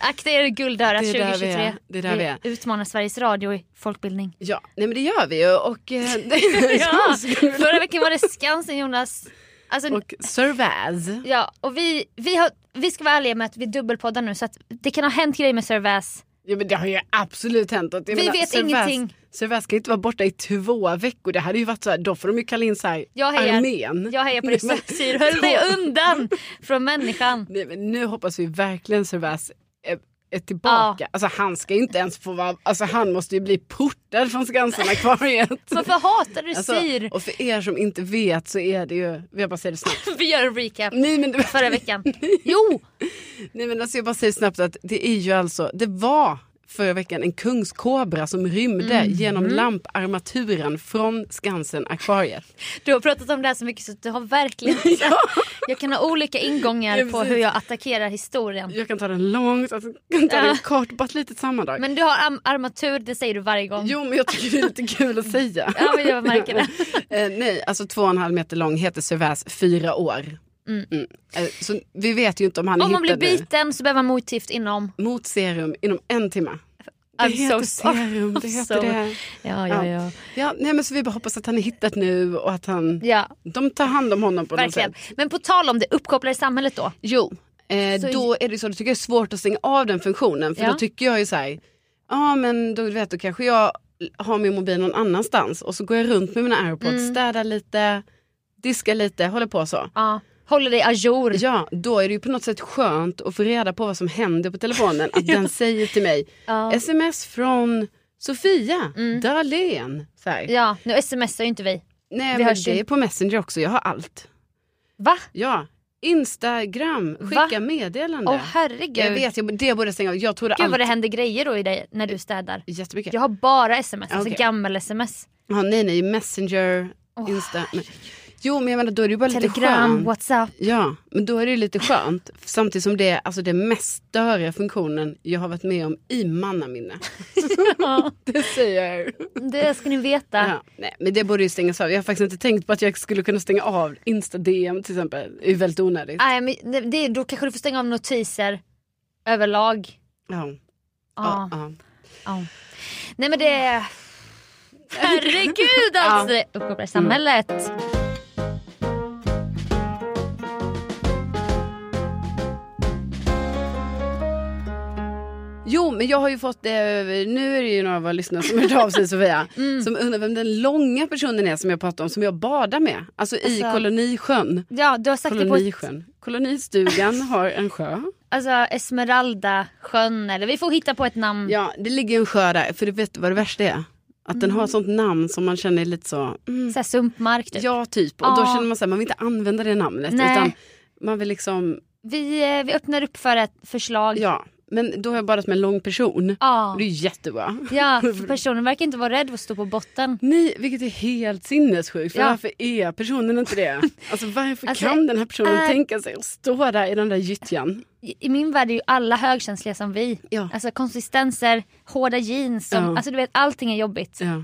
Speaker 1: Akta er guldörat
Speaker 2: Det är där vi
Speaker 1: 2023.
Speaker 2: är. Det är där vi är.
Speaker 1: utmanar Sveriges Radio i folkbildning.
Speaker 2: Ja, nej men det gör vi ju och... eh, det-
Speaker 1: Ja,
Speaker 2: så skulle-
Speaker 1: förra veckan var det Skansen Jonas. Alltså,
Speaker 2: och Servaz.
Speaker 1: ja, och vi, vi, har, vi ska vara ärliga med att vi dubbelpoddar nu så att det kan ha hänt grejer med Servaz.
Speaker 2: Ja men det har ju absolut hänt. Att, jag
Speaker 1: Vi
Speaker 2: menar,
Speaker 1: vet
Speaker 2: Servaz-
Speaker 1: ingenting.
Speaker 2: Servaz kan inte vara borta i två veckor. Det hade ju varit så här, då får de ju kalla in så här,
Speaker 1: Jag hejar,
Speaker 2: armén.
Speaker 1: jag hejar på
Speaker 2: Nej,
Speaker 1: dig
Speaker 2: men-
Speaker 1: Syr, höll dig undan från människan.
Speaker 2: Nej, men nu hoppas vi verkligen Servaz är, är tillbaka. Alltså han ska ju inte ens få vara, alltså han måste ju bli portad från Skansen-akvariet.
Speaker 1: Varför hatar du
Speaker 2: Alltså,
Speaker 1: Syr?
Speaker 2: och för er som inte vet så är det ju, jag bara säger det snabbt.
Speaker 1: Vi gör en recap
Speaker 2: Nej men,
Speaker 1: förra veckan. Jo!
Speaker 2: nej, men alltså jag bara säger snabbt att det är ju alltså, det var förra veckan en kungskobra som rymde
Speaker 1: Mhm.
Speaker 2: genom lamparmaturen från Skansen-akvariet.
Speaker 1: Du har pratat om det här så mycket så att du har verkligen Jag kan ha olika ingångar
Speaker 2: Ja,
Speaker 1: på
Speaker 2: precis.
Speaker 1: hur jag attackerar historien.
Speaker 2: Jag kan ta den långt, alltså, jag kan ta den
Speaker 1: Ja.
Speaker 2: kort, bara ett litet sammandrag.
Speaker 1: Men du har am- armatur, det säger du varje gång.
Speaker 2: Jo men jag tycker det är lite kul att säga.
Speaker 1: Ja, men jag märker det.
Speaker 2: Eh, nej, alltså två och en halv meter lång heter Servais fyra år. Mm. Eh, så vi vet ju inte om han är
Speaker 1: Om man blir
Speaker 2: hittad nu.
Speaker 1: biten så behöver man motgift inom.
Speaker 2: Mot serum inom en timme.
Speaker 1: I'm
Speaker 2: det heter
Speaker 1: so sorry.
Speaker 2: serum, det
Speaker 1: I'm
Speaker 2: heter
Speaker 1: so-
Speaker 2: det.
Speaker 1: Ja, ja, ja.
Speaker 2: Ja, nej, men så vi bara hoppas att han är hittad nu och att han...
Speaker 1: Ja,
Speaker 2: De tar hand om honom på
Speaker 1: verkligen.
Speaker 2: något sätt.
Speaker 1: Men på tal om det uppkopplade samhället då.
Speaker 2: Jo, eh,
Speaker 1: Så-
Speaker 2: då är det så, då tycker jag det är svårt att stänga av den funktionen. För
Speaker 1: Ja.
Speaker 2: då tycker jag ju så här, ja men då, vet, då kanske jag har min mobil någon annanstans och så går jag runt med mina airpods,
Speaker 1: Mm.
Speaker 2: städar lite, diskar lite, håller på så.
Speaker 1: Ja. Håller dig ajour.
Speaker 2: Ja, då är det ju på något sätt skönt att få reda på vad som händer på telefonen. Att den säger till mig,
Speaker 1: Ja. Mm.
Speaker 2: sms från Sofia Dahlén. Så här.
Speaker 1: Ja, nu smsar ju inte vi.
Speaker 2: Nej,
Speaker 1: vi
Speaker 2: men
Speaker 1: hörs
Speaker 2: det
Speaker 1: ju.
Speaker 2: är på Messenger också, jag har allt.
Speaker 1: Va?
Speaker 2: Ja, Instagram, skicka meddelande.
Speaker 1: Åh
Speaker 2: jag
Speaker 1: herregud.
Speaker 2: vet, jag, det borde jag stänga av. Jag trodde
Speaker 1: Gud vad
Speaker 2: allt
Speaker 1: det händer grejer då i dig när du städar.
Speaker 2: jättemycket.
Speaker 1: Jag har bara sms, alltså
Speaker 2: Okej.
Speaker 1: gammel-sms.
Speaker 2: Ja, nej, nej, Messenger,
Speaker 1: Åh,
Speaker 2: Insta. nej. Jo, men jag menar då är det ju bara lite
Speaker 1: Telegram,
Speaker 2: skönt.
Speaker 1: Whatsapp.
Speaker 2: Ja, men då är det ju lite skönt. Samtidigt som det är alltså, den mest störiga funktionen jag har varit med om i mannaminne.
Speaker 1: Ja,
Speaker 2: Det säger jag.
Speaker 1: det ska ni veta.
Speaker 2: Ja, nej, men det borde ju stängas av. Jag har faktiskt inte tänkt på att jag skulle kunna stänga av Insta-DM till exempel. Det är ju väldigt onödigt.
Speaker 1: Nej, men det- det, då kanske du får stänga av notiser överlag.
Speaker 2: Ja,
Speaker 1: Ja.
Speaker 2: ja, ja.
Speaker 1: ja. Nej men det... Herregud alltså! det Uppkopplade samhället.
Speaker 2: Mm. Jo, men jag har ju fått, eh, nu är det ju några av våra lyssnare som har hört av sig Sofia, som undrar vem den långa personen är som jag pratade om, som jag badar med. Alltså i
Speaker 1: Alltså-
Speaker 2: kolonisjön.
Speaker 1: Ja du har sagt det på ett,
Speaker 2: Kolonisjön. Kolonistugan har en sjö.
Speaker 1: alltså, Esmeralda sjön eller vi får hitta på ett namn.
Speaker 2: Ja, det ligger en sjö där, för du vet vad det värsta är? Att den har ett sånt namn som man känner är lite så, mm,
Speaker 1: Så här sumpmark typ.
Speaker 2: ja typ. Och då
Speaker 1: Ja.
Speaker 2: känner man så här, man vill inte använda det namnet.
Speaker 1: Nej.
Speaker 2: Utan man vill liksom,
Speaker 1: Vi, eh, vi öppnar upp för ett förslag.
Speaker 2: ja. Men då har jag badat med en lång person.
Speaker 1: Ja.
Speaker 2: Det är ju jättebra.
Speaker 1: Ja, för personen verkar inte vara rädd för att stå på botten.
Speaker 2: Nej, vilket är helt sinnessjukt. För
Speaker 1: Ja.
Speaker 2: Varför är personen inte det? Alltså varför
Speaker 1: Alltså,
Speaker 2: kan den här personen
Speaker 1: äh,
Speaker 2: tänka sig att stå där i den där gyttjan?
Speaker 1: I i min värld är ju alla högkänsliga som vi.
Speaker 2: Ja.
Speaker 1: Alltså konsistenser, hårda jeans, som,
Speaker 2: Ja.
Speaker 1: alltså du vet allting är jobbigt.
Speaker 2: Ja,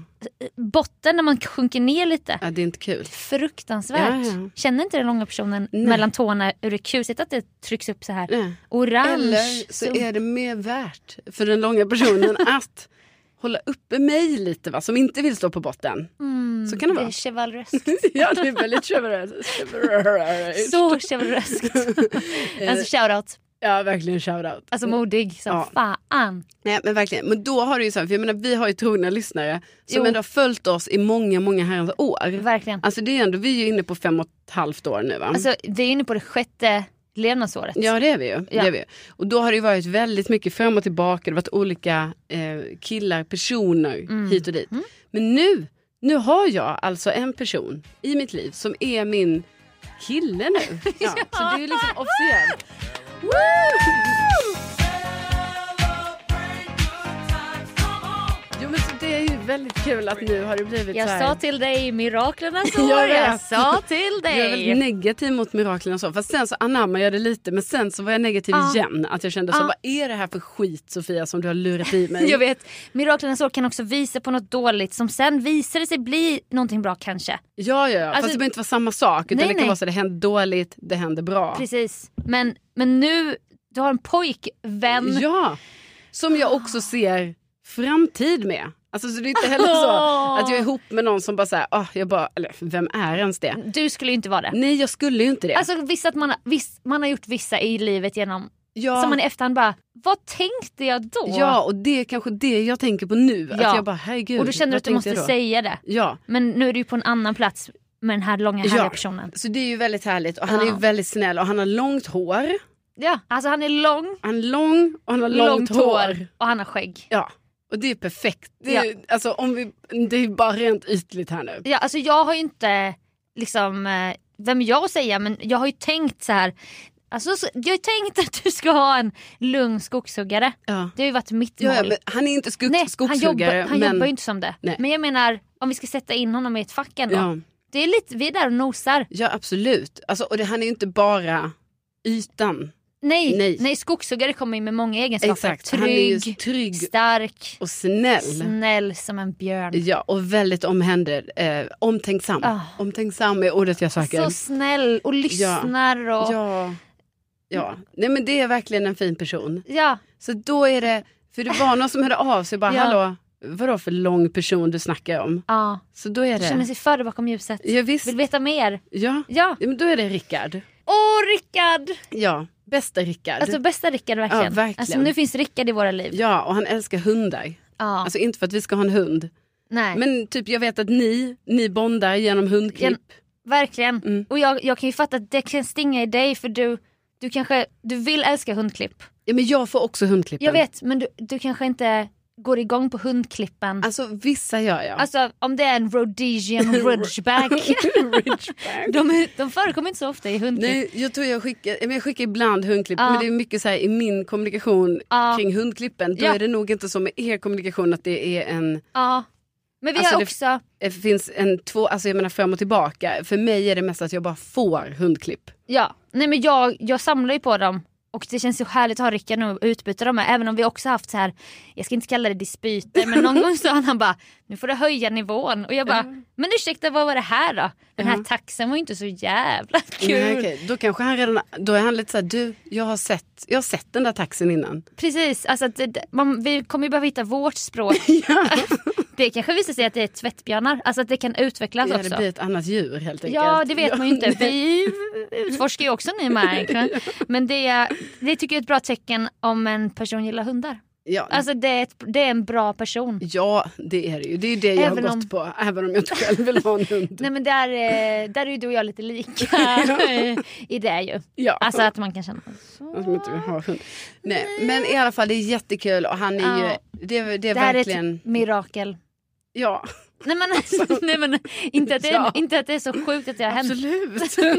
Speaker 1: Botten när man sjunker ner lite.
Speaker 2: ja, det är inte kul.
Speaker 1: Fruktansvärt.
Speaker 2: Ja, ja.
Speaker 1: Känner inte den långa personen mellan tårna hur det är kusigt att det trycks upp så här.
Speaker 2: Nej.
Speaker 1: Orange.
Speaker 2: Eller så
Speaker 1: sump.
Speaker 2: är det mer värt för den långa personen att hålla uppe mig lite, va? som inte vill stå på botten.
Speaker 1: Mm,
Speaker 2: så kan det vara.
Speaker 1: är chivalröst.
Speaker 2: ja, det är väldigt chivalrous.
Speaker 1: så chivalröst. alltså shoutout.
Speaker 2: Ja, verkligen shoutout.
Speaker 1: Alltså modig som
Speaker 2: Mm. Ja.
Speaker 1: fan.
Speaker 2: Nej men verkligen, men då har du ju så här, för jag menar vi har ju trogna lyssnare som
Speaker 1: Jo.
Speaker 2: ändå har följt oss i många, många herrans år.
Speaker 1: Verkligen.
Speaker 2: Alltså det är ändå, vi är ju inne på fem och ett halvt år nu va?
Speaker 1: Alltså vi är inne på det sjätte levnadsåret.
Speaker 2: ja det är vi ju.
Speaker 1: Ja.
Speaker 2: Det är vi. ju. Och då har det ju varit väldigt mycket fram och tillbaka, det har varit olika eh, killar, personer
Speaker 1: Mm.
Speaker 2: hit och dit. Men nu, nu har jag alltså en person i mitt liv som är min kille nu. Ja, Så det är ju liksom officiellt. Woo! Jo men så det är ju väldigt kul att nu har det blivit så
Speaker 1: Jag
Speaker 2: här.
Speaker 1: sa till dig miraklernas
Speaker 2: Jag
Speaker 1: år. Jag,
Speaker 2: vet.
Speaker 1: sa till
Speaker 2: jag är väldigt
Speaker 1: dig.
Speaker 2: negativ mot miraklerna och så. Fast sen så anammade jag det lite. Men sen så var jag negativ
Speaker 1: Ja.
Speaker 2: igen. Att jag kände så,
Speaker 1: Ja.
Speaker 2: vad är det här för skit Sofia som du har lurat i mig?
Speaker 1: Ah. Jag vet, miraklernas år kan också visa på något dåligt som sen visar det sig bli någonting bra kanske.
Speaker 2: Ja, ja, ja.
Speaker 1: Alltså-
Speaker 2: fast det behöver inte vara samma sak. Utan
Speaker 1: Nej,
Speaker 2: det kan
Speaker 1: nej.
Speaker 2: vara så det händer dåligt, det händer bra.
Speaker 1: Precis. Men, men nu, du har en pojkvän.
Speaker 2: Ja, som jag också ser framtid med. Alltså så det är inte heller så att jag är ihop med någon som bara säger, ah, jag bara, eller vem är ens det?
Speaker 1: Du skulle ju inte vara det.
Speaker 2: Nej jag skulle ju inte det.
Speaker 1: Alltså visst att man, har- visst, man har gjort vissa i livet genom,
Speaker 2: ja,
Speaker 1: som man i efterhand bara, vad tänkte jag då?
Speaker 2: ja och det är kanske det jag tänker på nu. Att
Speaker 1: Ja.
Speaker 2: jag bara herregud.
Speaker 1: och då känner du
Speaker 2: vad
Speaker 1: att du
Speaker 2: tänkte
Speaker 1: måste
Speaker 2: jag då?
Speaker 1: säga det.
Speaker 2: Ja,
Speaker 1: Men nu är du ju på en annan plats med den här långa härliga
Speaker 2: Ja.
Speaker 1: personen.
Speaker 2: så det är ju väldigt härligt och han är ju
Speaker 1: Ja.
Speaker 2: väldigt snäll och han har långt hår.
Speaker 1: Ja, alltså han är lång,
Speaker 2: Han är lång och han har
Speaker 1: långt
Speaker 2: långt, hår.
Speaker 1: hår och han har skägg.
Speaker 2: Ja, och det är perfekt. Det är, alltså, om vi, det är bara rent ytligt här nu.
Speaker 1: Ja, alltså jag har ju inte liksom, eh, vem är jag att säga men jag har ju tänkt så här. Alltså, så- jag har ju tänkt att du ska ha en lugn skogshuggare.
Speaker 2: Ja.
Speaker 1: Det har ju varit mitt mål.
Speaker 2: Ja, ja, men han är inte skog,
Speaker 1: Nej, han,
Speaker 2: skogshuggare.
Speaker 1: jobbar, han
Speaker 2: men,
Speaker 1: jobbar ju inte som det.
Speaker 2: Nej.
Speaker 1: Men jag menar om vi ska sätta in honom i ett fack ändå.
Speaker 2: ja,
Speaker 1: Det är lite, vi är där och nosar.
Speaker 2: ja, absolut. Alltså, och det, han är ju inte bara ytan.
Speaker 1: Nej,
Speaker 2: Nej.
Speaker 1: nej. skogshuggare kommer ju med många egenskaper.
Speaker 2: Han är ju
Speaker 1: Trygg,
Speaker 2: trygg
Speaker 1: stark,
Speaker 2: och snäll.
Speaker 1: snäll som en björn.
Speaker 2: Ja, och väldigt omhänder, eh, omtänksam.
Speaker 1: Ah.
Speaker 2: Omtänksam är ordet jag söker.
Speaker 1: Så snäll och lyssnar och... Ja.
Speaker 2: ja. ja, nej men det är verkligen en fin person.
Speaker 1: Ja.
Speaker 2: Så då är det, för det var någon som hörde av sig och bara,
Speaker 1: Ja.
Speaker 2: hallå, vadå för lång person du snackar om? Så då är
Speaker 1: Du känner
Speaker 2: det,
Speaker 1: sig före bakom ljuset.
Speaker 2: ja visst,
Speaker 1: Vill veta mer?
Speaker 2: ja.
Speaker 1: Ja.
Speaker 2: ja men då är det Rickard.
Speaker 1: Åh Rickard!
Speaker 2: Ja, bästa Rickard.
Speaker 1: Alltså bästa Rickard verkligen.
Speaker 2: Ja, verkligen.
Speaker 1: Alltså, nu finns Rickard i våra liv.
Speaker 2: Ja, och han älskar hundar.
Speaker 1: Ja.
Speaker 2: Alltså inte för att vi ska ha en hund.
Speaker 1: Nej.
Speaker 2: Men typ jag vet att ni, ni bondar genom hundklipp.
Speaker 1: Verkligen.
Speaker 2: Mm.
Speaker 1: Och jag, jag kan ju fatta att det kan stinga i dig för du, du kanske du vill älska hundklipp.
Speaker 2: Ja, men jag får också hundklippen.
Speaker 1: Jag vet men du, du kanske inte går igång på hundklippen.
Speaker 2: Alltså vissa gör jag.
Speaker 1: Alltså om det är en rhodesian ridgeback.
Speaker 2: Ridgeback.
Speaker 1: de, är- de förekommer inte så ofta i hundklipp.
Speaker 2: Nej, jag tror jag skickar, ja, men jag skickar ibland hundklipp.
Speaker 1: Ja.
Speaker 2: Men det är mycket så här i min kommunikation
Speaker 1: Ja.
Speaker 2: kring hundklippen. Då
Speaker 1: Ja.
Speaker 2: är det nog inte så med er kommunikation att det är en
Speaker 1: Ja. Men vi
Speaker 2: Alltså,
Speaker 1: har
Speaker 2: det-
Speaker 1: också,
Speaker 2: det finns en två, alltså jag menar fram och tillbaka. För mig är det mest att jag bara får hundklipp.
Speaker 1: ja. Nej men jag, jag samlar ju på dem. Och det känns så härligt att ha Rickard nu och utbyta dem med. Även om vi också haft så här, jag ska inte kalla det dispyter men någon gång sa han bara nu får du höja nivån. Och jag bara men ursäkta vad var det här då? Den här taxen var ju inte så jävla kul.
Speaker 2: Nej, okej. Då kanske han redan, då är han lite så här, du, jag har sett, jag har sett den där taxen innan.
Speaker 1: Precis, alltså att det- det, man, vi kommer ju behöva hitta vårt språk. det kanske visar sig att det är tvättbjörnar, alltså att det kan utvecklas
Speaker 2: Det hade
Speaker 1: också.
Speaker 2: blivit ett annat djur helt enkelt.
Speaker 1: Ja det vet man ju inte.
Speaker 2: nej.
Speaker 1: Vi utforskar ju också ny mark. Men det, det tycker jag är ett bra tecken om en person gillar hundar.
Speaker 2: Ja,
Speaker 1: Alltså det är, ett, det är en bra person.
Speaker 2: ja, det är det ju. Det är ju det jag
Speaker 1: Även
Speaker 2: har
Speaker 1: om-
Speaker 2: gått på. Även om jag inte själv vill ha en hund.
Speaker 1: Nej men där, eh, där är ju du och jag lite lika i det ju.
Speaker 2: ja.
Speaker 1: Alltså att man kan känna så.
Speaker 2: Alltså, som inte vill ha hund. Nej, men i alla fall det är jättekul och han är
Speaker 1: Ja.
Speaker 2: ju, det, är- det är
Speaker 1: Det här är
Speaker 2: verkligen,
Speaker 1: ett mirakel.
Speaker 2: ja
Speaker 1: Nej men, alltså, nej, men inte, att det är,
Speaker 2: Ja.
Speaker 1: inte att det är så sjukt att det har hänt.
Speaker 2: absolut.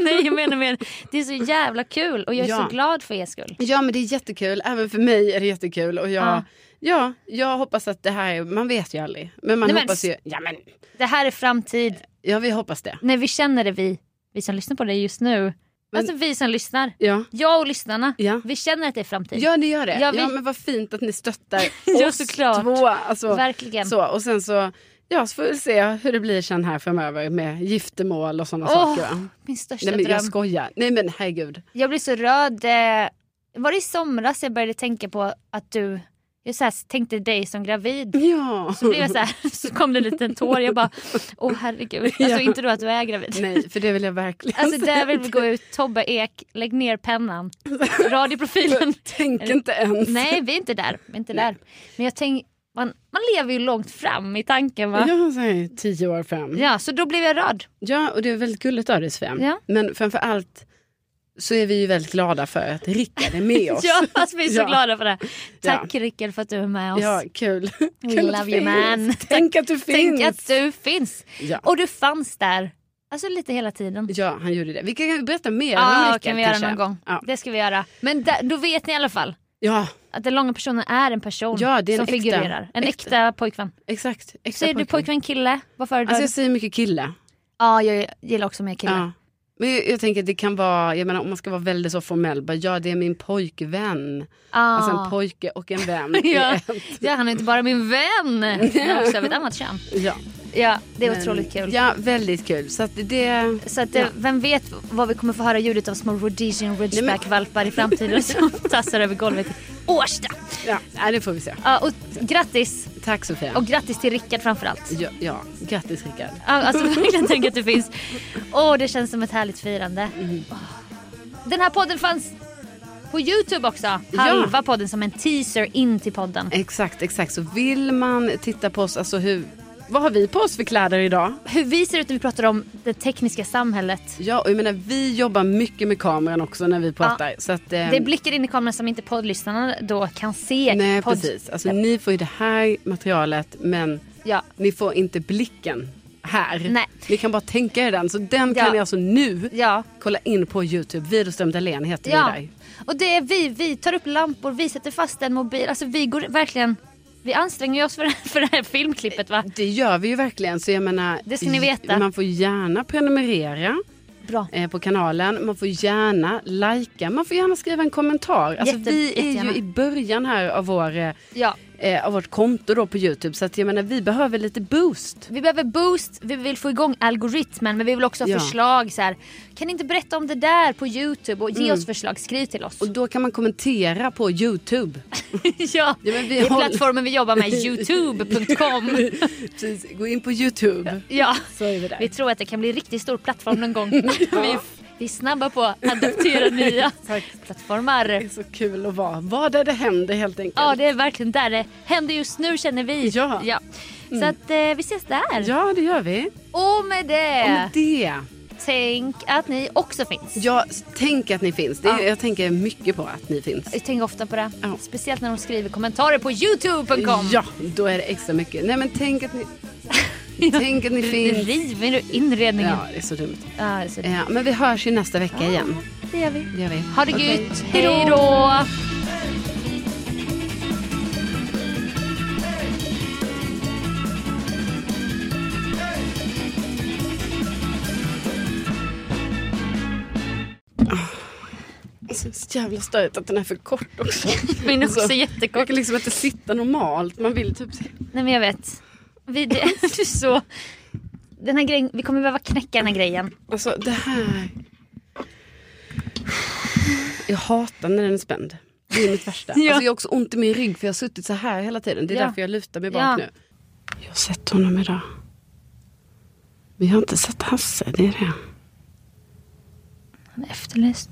Speaker 1: Nej jag menar mer, det är så jävla kul och jag är
Speaker 2: Ja.
Speaker 1: så glad för er skull.
Speaker 2: Ja men det är jättekul, även för mig är det jättekul och jag,
Speaker 1: Ja.
Speaker 2: ja, jag hoppas att det här, är- man vet ju aldrig. Men man
Speaker 1: Nej, men-
Speaker 2: hoppas ju, ja men,
Speaker 1: Det här är framtid,
Speaker 2: ja vi hoppas det.
Speaker 1: när vi känner det vi, vi som lyssnar på det just nu.
Speaker 2: Men-
Speaker 1: Alltså vi som lyssnar,
Speaker 2: Ja,
Speaker 1: jag och lyssnarna,
Speaker 2: ja.
Speaker 1: vi känner att det är framtid.
Speaker 2: Ja det gör det. Ja,
Speaker 1: Ja, vi-
Speaker 2: men vad fint att ni stöttar
Speaker 1: Ja,
Speaker 2: oss
Speaker 1: såklart.
Speaker 2: två. Alltså,
Speaker 1: Verkligen.
Speaker 2: så, och sen så, ja så får vi se hur det blir sen här framöver med giftermål och sådana
Speaker 1: Åh,
Speaker 2: saker. va?
Speaker 1: Min största
Speaker 2: Nej men
Speaker 1: dröm.
Speaker 2: jag skojar. Nej men herregud.
Speaker 1: Jag blev så röd. eh, Var det i somras jag började tänka på att du... Jag så här, tänkte dig som gravid.
Speaker 2: Ja.
Speaker 1: Så, blev jag så, här, så kom det en liten tår. Jag bara, åh herregud. Alltså
Speaker 2: Ja.
Speaker 1: inte då att du är gravid.
Speaker 2: Nej för det vill jag verkligen
Speaker 1: Alltså
Speaker 2: säga.
Speaker 1: där vill vi gå ut. Tobbe Ek, lägg ner pennan. Radioprofilen.
Speaker 2: Tänk inte ens.
Speaker 1: Nej, vi är inte där. Vi är inte där. Men jag tänk, man, man lever ju långt fram i tanken va?
Speaker 2: Jag säger tio år fram.
Speaker 1: Ja, så då blev jag röd.
Speaker 2: Ja och det är väldigt gulligt av dig Sven.
Speaker 1: Ja.
Speaker 2: Men framför allt så är vi ju väldigt glada för att Rickard är med oss.
Speaker 1: Ja, alltså, vi är så
Speaker 2: Ja.
Speaker 1: glada för det. Tack Rickard för att du är med oss.
Speaker 2: Ja, kul.
Speaker 1: We
Speaker 2: kul att
Speaker 1: love
Speaker 2: du
Speaker 1: you,
Speaker 2: finns.
Speaker 1: man.
Speaker 2: Tänk att du finns.
Speaker 1: Tänk att du finns.
Speaker 2: Ja.
Speaker 1: Och du fanns där. Alltså lite hela tiden.
Speaker 2: Ja, han gjorde det. Vi kan ju berätta mer om
Speaker 1: Ja,
Speaker 2: Rickard
Speaker 1: kan vi göra
Speaker 2: kanske.
Speaker 1: någon gång.
Speaker 2: Ja.
Speaker 1: Det ska vi göra. Men där, då vet ni i alla fall.
Speaker 2: Ja,
Speaker 1: Att den långa personen är en person
Speaker 2: Ja, det är en
Speaker 1: som
Speaker 2: äkta-
Speaker 1: figurerar. En äkta, pojkvän.
Speaker 2: exakt. exakt
Speaker 1: Säger du pojkvän kille? Vad föredrar
Speaker 2: Alltså jag
Speaker 1: du?
Speaker 2: säger mycket kille.
Speaker 1: Ja, jag gillar också mer killar.
Speaker 2: Ja. Men jag, jag tänker att det kan vara, jag menar om man ska vara väldigt så formell, bara, ja det är min pojkvän.
Speaker 1: Ja.
Speaker 2: Alltså en pojke och en vän.
Speaker 1: Ja.
Speaker 2: Det är-
Speaker 1: Ah. ja, han är inte bara min vän. Han är också av ett annat kön.
Speaker 2: ja.
Speaker 1: Ja, det är
Speaker 2: Men-
Speaker 1: otroligt kul.
Speaker 2: Ja, väldigt kul. Så att det...
Speaker 1: Så att, eh,
Speaker 2: Ja.
Speaker 1: vem vet vad vi kommer få höra ljudet av små Rhodesian Ridgeback-valpar i framtiden som tassar över golvet i Årsta.
Speaker 2: Ja, nej, det får vi se.
Speaker 1: Ja, och grattis!
Speaker 2: Tack Sofia.
Speaker 1: Och grattis till Rickard framförallt.
Speaker 2: Ja, ja. grattis Rickard.
Speaker 1: Ja, Alltså verkligen tänk att du finns. Åh, det känns som ett härligt firande.
Speaker 2: Mm.
Speaker 1: Åh. Den här podden fanns på Youtube också. Halva podden som en teaser in till podden.
Speaker 2: Exakt, exakt. Så vill man titta på oss, alltså hur... Vad har vi på oss för kläder idag?
Speaker 1: Hur vi ser ut när vi pratar om det tekniska samhället.
Speaker 2: Ja, och jag menar vi jobbar mycket med kameran också när vi pratar. Så att, eh,
Speaker 1: Det är blickar in i kameran som inte poddlyssnarna då kan se.
Speaker 2: Nej,
Speaker 1: Podd-
Speaker 2: precis. Alltså ni får ju det här materialet, men
Speaker 1: Ja.
Speaker 2: ni får inte blicken här.
Speaker 1: Nej.
Speaker 2: Ni kan bara tänka er den. Så den
Speaker 1: Ja.
Speaker 2: kan ni alltså nu
Speaker 1: Ja.
Speaker 2: kolla in på Youtube. Widerström Dahlén heter vi
Speaker 1: Ja.
Speaker 2: där.
Speaker 1: Och det är vi, vi tar upp lampor, vi sätter fast en mobil. Alltså vi går verkligen, vi anstränger oss för det här, för det här filmklippet va.
Speaker 2: Det gör vi ju verkligen. Så jag menar,
Speaker 1: Det ska ni veta.
Speaker 2: Man får gärna prenumerera
Speaker 1: Bra.
Speaker 2: eh, på kanalen. Man får gärna lajka. Man får gärna skriva en kommentar. Alltså,
Speaker 1: Jätte-
Speaker 2: vi är
Speaker 1: jättegärna.
Speaker 2: ju i början här av, vår, eh,
Speaker 1: Ja.
Speaker 2: eh, av vårt konto då på Youtube. Så att jag menar, vi behöver lite boost.
Speaker 1: Vi behöver boost, vi vill få igång algoritmen men vi vill också ha
Speaker 2: Ja.
Speaker 1: förslag. Så här. Kan ni inte berätta om det där på Youtube och ge oss förslag, skriv till oss.
Speaker 2: Mm. Och då kan man kommentera på Youtube.
Speaker 1: ja.
Speaker 2: Ja, men vi
Speaker 1: det är
Speaker 2: har-
Speaker 1: plattformen vi jobbar med, youtube.com.
Speaker 2: Precis, Gå in på Youtube.
Speaker 1: ja.
Speaker 2: Så är vi där.
Speaker 1: Vi tror att det kan bli en riktigt stor plattform någon gång. vi, vi är snabba på att adaptera nya plattformar.
Speaker 2: Det är så kul att vara. Vad är det händer helt enkelt.
Speaker 1: Ja det är verkligen där det händer just nu känner vi.
Speaker 2: Ja. Mm.
Speaker 1: Så att eh, vi ses där.
Speaker 2: Ja, det gör vi.
Speaker 1: Och med det,
Speaker 2: Och med det.
Speaker 1: tänk att ni också finns.
Speaker 2: Jag tänker att ni finns. Det är,
Speaker 1: Ja.
Speaker 2: Jag tänker mycket på att ni finns.
Speaker 1: Jag tänker ofta på det.
Speaker 2: Ja.
Speaker 1: Speciellt när de skriver kommentarer på youtube.com.
Speaker 2: Ja, då är det extra mycket. Nej men tänk att ni, tänk att ni finns.
Speaker 1: River du inredningen?
Speaker 2: Ja, det är så dumt.
Speaker 1: Ja, så
Speaker 2: Eh, men vi hörs ju nästa vecka igen.
Speaker 1: det gör vi.
Speaker 2: Det gör vi.
Speaker 1: Ha det
Speaker 2: Okej.
Speaker 1: gött. Hej då.
Speaker 2: Alltså, så jävla störigt att den är för kort också.
Speaker 1: Min är också
Speaker 2: Alltså, Jag
Speaker 1: jättekort.
Speaker 2: kan liksom inte sitta normalt. Man vill typ...
Speaker 1: Nej men jag vet. Vi, det, du är så... Den här grejen, vi kommer behöva knäcka den här grejen.
Speaker 2: Alltså det här. Jag hatar när den är spänd. Det är mitt värsta.
Speaker 1: Ja.
Speaker 2: Alltså, jag har också ont i min rygg för jag har suttit så här hela tiden. Det är
Speaker 1: Ja.
Speaker 2: därför jag lutar mig bak
Speaker 1: Ja.
Speaker 2: nu. Jag har sett honom idag. Men jag har inte sett Hasse, det är det.
Speaker 1: Han är efterlyst.